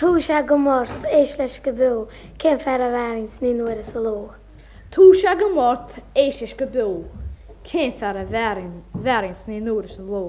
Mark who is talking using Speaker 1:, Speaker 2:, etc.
Speaker 1: Tuaise go mórt éis leis go bú cin fer a bhains ní nuair is lo.
Speaker 2: Túise go mórt éisteis go bú, cé fear a bherins ní nuair san ló.